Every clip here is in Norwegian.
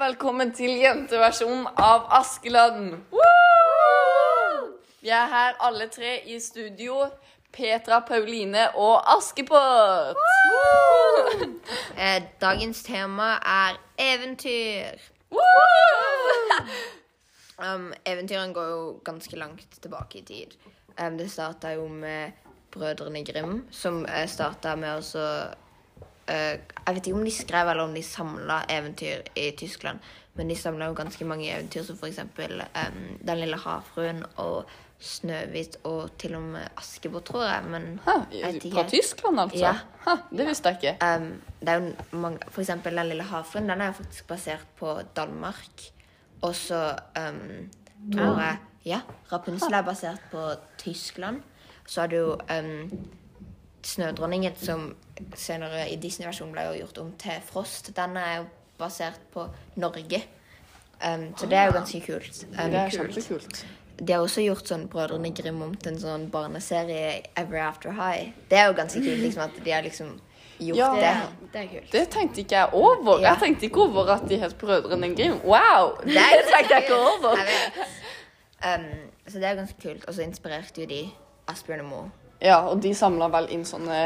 velkommen til jenteversjonen av Askeladden. Vi er her alle tre i studio. Petra, Pauline og Askepott. Eh, Dagens tema er eventyr. Um, eventyrene går jo ganske langt tilbake i tid. Um, det starta jo med Brødrene Grim, som uh, starta med å så eh, Jeg vet ikke om de skrev eller om de samla eventyr i Tyskland, men de samla jo ganske mange eventyr, som for eksempel um, Den lille havfruen og Snøhvit og til og med Askepott, tror jeg, men Hæ, jeg vet Fra ikke. Tyskland, altså? Ja. Hæ, det visste jeg ikke. Um, det er jo mange, for eksempel Den lille havfruen den er faktisk basert på Danmark. Og så um, tror Ah. jeg Ja, Rapunzel er basert på Tyskland. Så er det jo um, Snødronningen, som senere i Disney-versjonen ble jo gjort om til Frost, den er jo basert på Norge. Um, så det er jo ganske kult. Um, Ah. Det er kjempekult. De har også gjort sånn Brødrene Grim om til en sånn barneserie, Ever After High. Det er jo ganske kult liksom, at de har liksom gjort Ja. det. Det er kult. Det tenkte ikke jeg over. Ja. Jeg tenkte ikke over at de het Brødrene Grim. Wow! Det er tenkte jeg ikke over. Jeg vet. Um, så det er ganske kult. Og så inspirerte jo de Asbjørn og Moe. Ja, og de samla vel inn sånne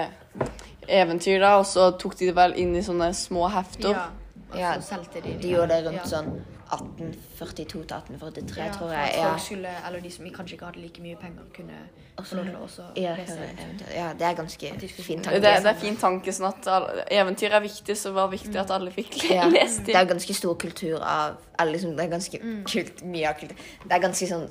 eventyr, da, og så tok de det vel inn i sånne små hefter. Ja. Og Ja, så solgte de det. Altså, De gjorde det rundt Ja. sånn 1842 til 1843, Ja, tror for jeg. at Ja. Folk skulle, eller de som kanskje ikke hadde like mye penger, kunne få lov til å også Ja, lese høre eventyr. eventyr. ja, det Mm. er ganske de skulle fin Det, tanke. det er en fin tanke. sånn at alle- Eventyr er viktig, så det var viktig at alle fikk le- Mm. Ja. lest Det det. er ganske stor kultur av Eller liksom, det er ganske kult, mye av kultur. Det er ganske sånn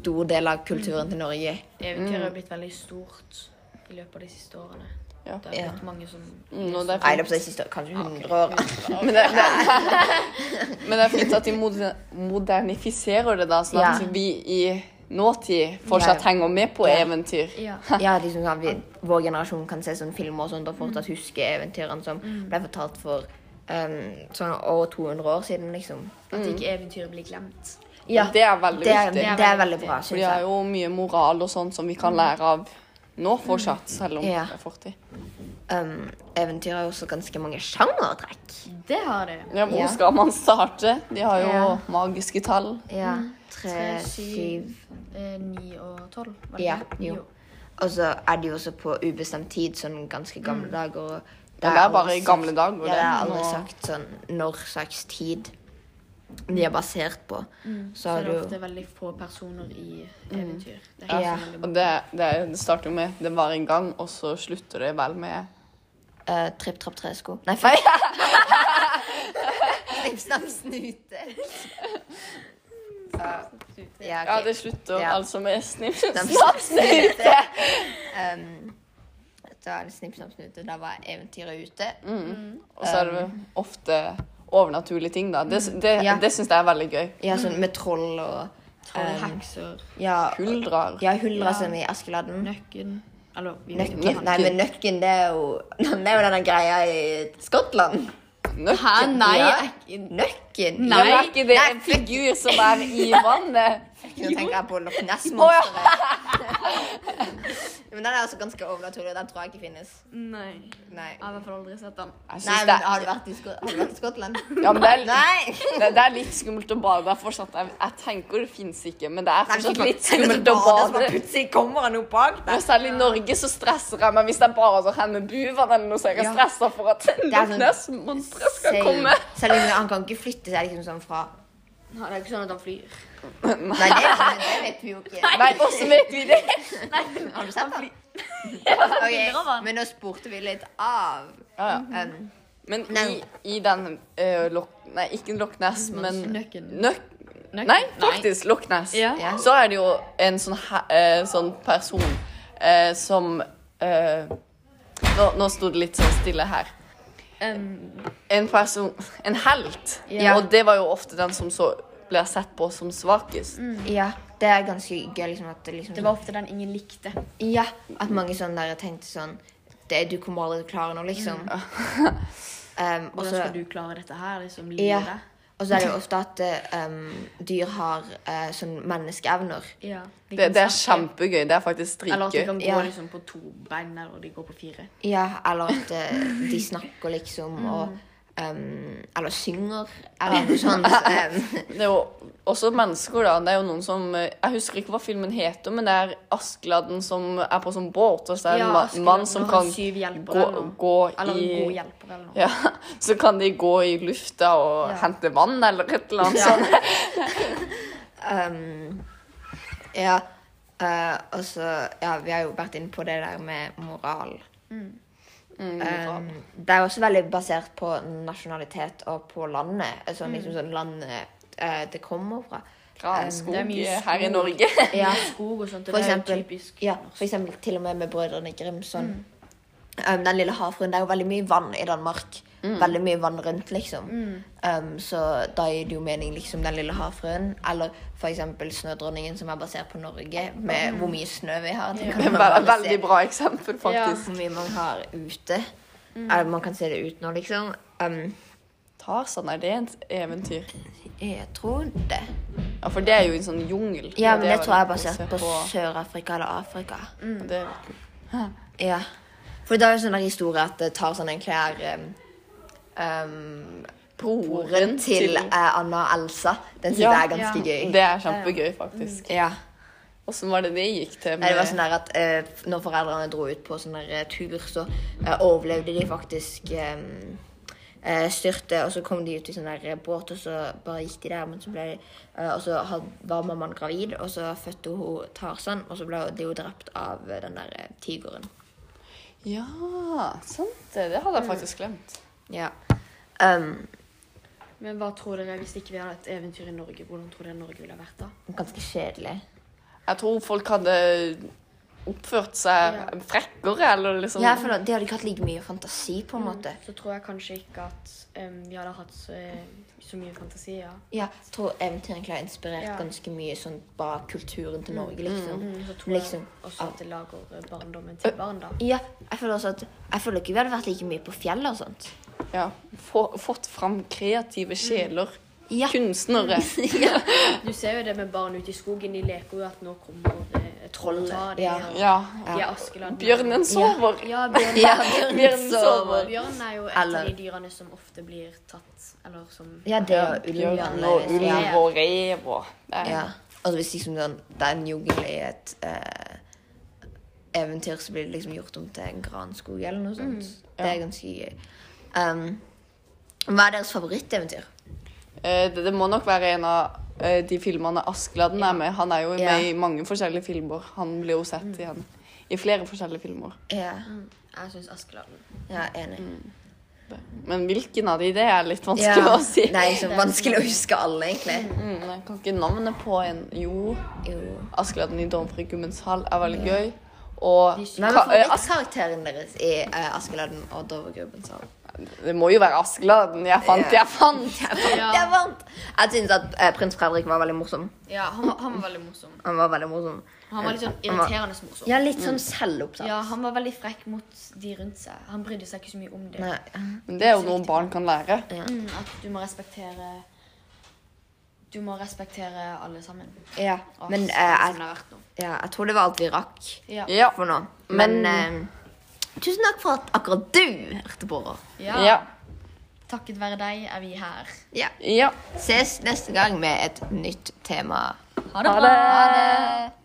stor del av kulturen til Norge. Eventyr er blitt veldig stort i løpet av de siste årene. Ja. Det har blitt mange som Mm, og det er Nei, fint. det er på de siste kanskje 100 år. Men det, det, men det er fint at de moder- modernifiserer det, da, sånn at Ja. vi i nåtid fortsatt Ja. henger med på eventyr. Ja. Ja, liksom sånn, vi, Vår generasjon kan se sånne filmer og sånt og fortsatt huske eventyrene som ble fortalt for ehm, sånn over 200 år siden, liksom. At ikke eventyret blir glemt. Ja, Det er veldig det er, viktig. det er veldig bra, For syns de har jeg. jo mye moral og sånn som vi kan lære av nå fortsatt, selv om Ja. det er fortid. Um, eventyr har jo også ganske mange sjangertrekk. Det har det. Ja, hvor Ja. skal man starte? De har jo Ja. magiske tall. Ja. Mm. Tre, Tre, syv syv, eh, ni og tolv. var det Ja, ikke? jo. Og så er de jo også på ubestemt tid, sånn ganske gamle dager. Og Ja, det er bare aldri i gamle sagt- dager, det. Ja, det er aldri Nå- sagt sånn når slags tid de er basert på. Så Så har er du det jo ofte veldig få personer i eventyr. Det er Ja. ikke så veldig Og mange. det, det, er- det starter jo med 'det var en gang', og så slutter det vel med Eh, Tripp, trapp, tresko. Nei, feil. Snipp, snapp, snute. Ja, Ja, ok. det slutter Ja. altså med snipp, Snipp, snapp, snipp. snute. Um, da er det snipp, snapp, snute. Da var eventyret ute. Mm. Og så er det ofte overnaturlige ting, da. Det, det, Um, Ja. det syns jeg er veldig gøy. Ja, sånn med troll og Troll, um, hekser, Ja, Huldrar. ja huldra Ja. som i Askeladden. nøkken Eller vi vet ikke Nøkken. hva Nei, han- men nøkken, det er jo Det er jo denne greia i Skottland. Nøkken. Hæ, nei! Ja. jeg- Nøkken? Ja, men Nei. er ikke det en figur som er i vannet? Nå tenker jeg på Loch Å, Ness-monsteret. men den er altså ganske overnaturlig, og den tror jeg ikke finnes. Nei. Nei. Jeg har i hvert fall aldri sett den. Jeg Nei, synes men det, Har du vært i, Skot har du vært i Skottland? ja, men det, er, Nei! det, det er litt skummelt å bade der fortsatt. Jeg, jeg tenker det fins ikke, men det er fortsatt Sånn litt Tenk at du skummelt å bader, så bare bade. Plutselig kommer han opp bak Og deg. selv i Norge så stresser jeg meg hvis jeg bader her med buven eller noe, så jeg er Ja. stressa for at Loch sånn- Ness-monsteret skal Selv- komme. Selv om han kan ikke flytte seg liksom sånn fra Nei, det er ikke sånn at han flyr. Nei, det, det vet vi jo ikke. Nei, åssen vet vi det? Har du sett han? bilder av Ok, han. Men nå spurte vi litt av Ja, ja. um, Men i, Nei. i den eh, Loch- Nei, ikke Loch Ness, men Nøkken. Nøk- Nøkken. Nei, faktisk Loch Ness. Ja. Ja. Så er det jo en sånn, he- eh, sånn person eh, som eh, Nå, nå sto det litt sånn stille her. Um, En person En helt. Ja. Og det var jo ofte den som så blir sett på som svakest. Ja, det er ganske gøy liksom at det liksom det var ofte den ingen likte. Ja, at mange sånne der tenkte sånn det, Du kommer aldri til å klare noe, liksom. um, og Mm. Hvordan så- skal du klare dette her? liksom, ja. livet? Og så er det jo ofte at eh, um, dyr har eh, sånn menneskeevner. Ja. de Det, kan det er snakke. kjempegøy. Det er faktisk Eller at de kan dritgøy. gå Ja. liksom, på to bein, eller de går på fire. Ja, eller at eh, de snakker, liksom, og Mm. em, Eller synger, eller noe sånt. em. Det er jo også mennesker, da. Det er jo noen som eh, Jeg husker ikke hva filmen heter, men det er Askeladden som er på sånn båt, og så er det en ma- Askeladden mann som har kan syv gå, hjelpere eller noe. gå Eller en god i hjelper eller noe. ja, Så kan de gå i lufta og Ja. hente vann eller et eller annet sånn. Ja. sånt. Em, ja. eh, og så Ja, vi har jo vært inne på det der med moral. Em, det er også veldig basert på nasjonalitet og på landet. Altså, liksom sånn landet eh, det kommer fra. Granskog Det er mye eh, skog. her i Norge. Ja. Skog og sånt. og For Det er jo eksempel, typisk ja, norsk. for eksempel til og med med Brødrene Grim. Sånn. Um, den lille havfruen. Det er jo veldig mye vann i Danmark. Veldig mye vann rundt, liksom. Um, så da gir det jo mening, liksom, Den lille havfruen. Eller for eksempel Snødronningen, som er basert på Norge, med hvor mye snø vi har. Det Det kan man er bare et se veldig bra eksempel, faktisk. Hvor mye man har ute. Eller man kan se det ut nå, liksom. Um, Tarzan, er det et eventyr? jeg tror det. Ja, for det er jo en sånn jungel. Ja, Og men det er tror jeg er vel basert basert på Mm. Sør-Afrika eller Afrika. det, Ja. For det er jo sånn der historie at det tar sånn egentlig er um, um, Broren til eh, Anna og Elsa. Den synes Ja. jeg er ganske gøy. Det er kjempegøy, faktisk. Ja. Åssen var det det gikk til? Nei, Det var med- sånn der at eh, når foreldrene dro ut på sånn der eh, tur, så eh, overlevde de faktisk um, eh, styrtet, og så kom de ut i sånn der eh, båt, og så bare gikk de der, men så ble de eh, Og så had, var mammaen gravid, og så fødte hun Tarzan, og så ble de jo drept av eh, den der eh, tigeren. Ja, sant det. Det hadde jeg faktisk glemt. Ja. Um, Men hva tror dere hvis ikke vi hadde et eventyr i Norge? Hvordan tror dere Norge ville ha vært da? ganske kjedelig. Jeg tror folk hadde oppført seg Ja. frekkere, eller liksom Ja, for da- De hadde ikke hatt like mye fantasi, på en måte. Så tror jeg kanskje ikke at em, vi hadde hatt så, eh, så mye fantasi. Ja. Ja, jeg tror eventyret egentlig har inspirert Ja. ganske mye sånn bare kulturen til Norge, liksom. Så tror liksom jeg også at det lager eh, barndommen til barn, da. ja, jeg føler også at Jeg føler ikke vi hadde vært like mye på fjellet og sånt. Ja, få, fått fram kreative sjeler. Ja. Kunstnere. Du ser jo det med barn ute i skogen. De leker jo at nå kommer eh, troll og tar dem. Ja. og Ja. De er Askeladden. Bjørnen sover. Ja, bjørn, Ja, Bjørnen sover. bjørn er jo et Eller- av de dyrene som ofte blir tatt, eller som Ja, det og ulv. Bjørn og annerledes, ulv ja. og rev og det er- Ja. Altså hvis liksom den, det er en jungel i et eh, eventyr, så blir det liksom gjort om til en granskog eller noe sånt. Det er ganske gøy. Um, hva er deres favoritteventyr? Eh, Det, det må nok være en av eh, de filmene Askeladden er med. Han er jo Ja. med i mange forskjellige filmer. Han blir jo sett igjen i flere forskjellige filmer. Ja, Mm. Jeg syns Askeladden. jeg er enig. Mm. Men hvilken av de, det er litt Ja. vanskelig å si. Nei, så vanskelig å huske alle, egentlig. Mm, jeg kan ikke navnet på en Jo. Mm. Jo. Askeladden i Domfrigummens hall er veldig gøy. Og Hvem Ka- er eh, Ask- favorittkarakteren deres i eh, Askeladden og Dovregrubbens hall? det må jo være Askeladden. Jeg fant, Ja. jeg fant! Ja. Det er varmt! Jeg syns at eh, prins Fredrik var veldig morsom. Ja, han var, han var veldig morsom. Han var veldig morsom. Han var litt sånn Han var- irriterende morsom. Ja, litt sånn selvopptatt. Ja, han var veldig frekk mot de rundt seg. Han brydde seg ikke så mye om det. Nei. Men det er jo noe barn kan lære. Mm, at du må respektere Du må respektere alle sammen. Ja. Og Men eh, sånn som det jeg, har vært nå. ja, jeg tror det var alt vi rakk Ja. Ja. for nå. Men Men- eh, tusen takk for at akkurat du hørte på. Ja. Ja. Takket være deg er vi her. Ja. ja. Ses neste gang med et nytt tema. Ha det bra! Ha det!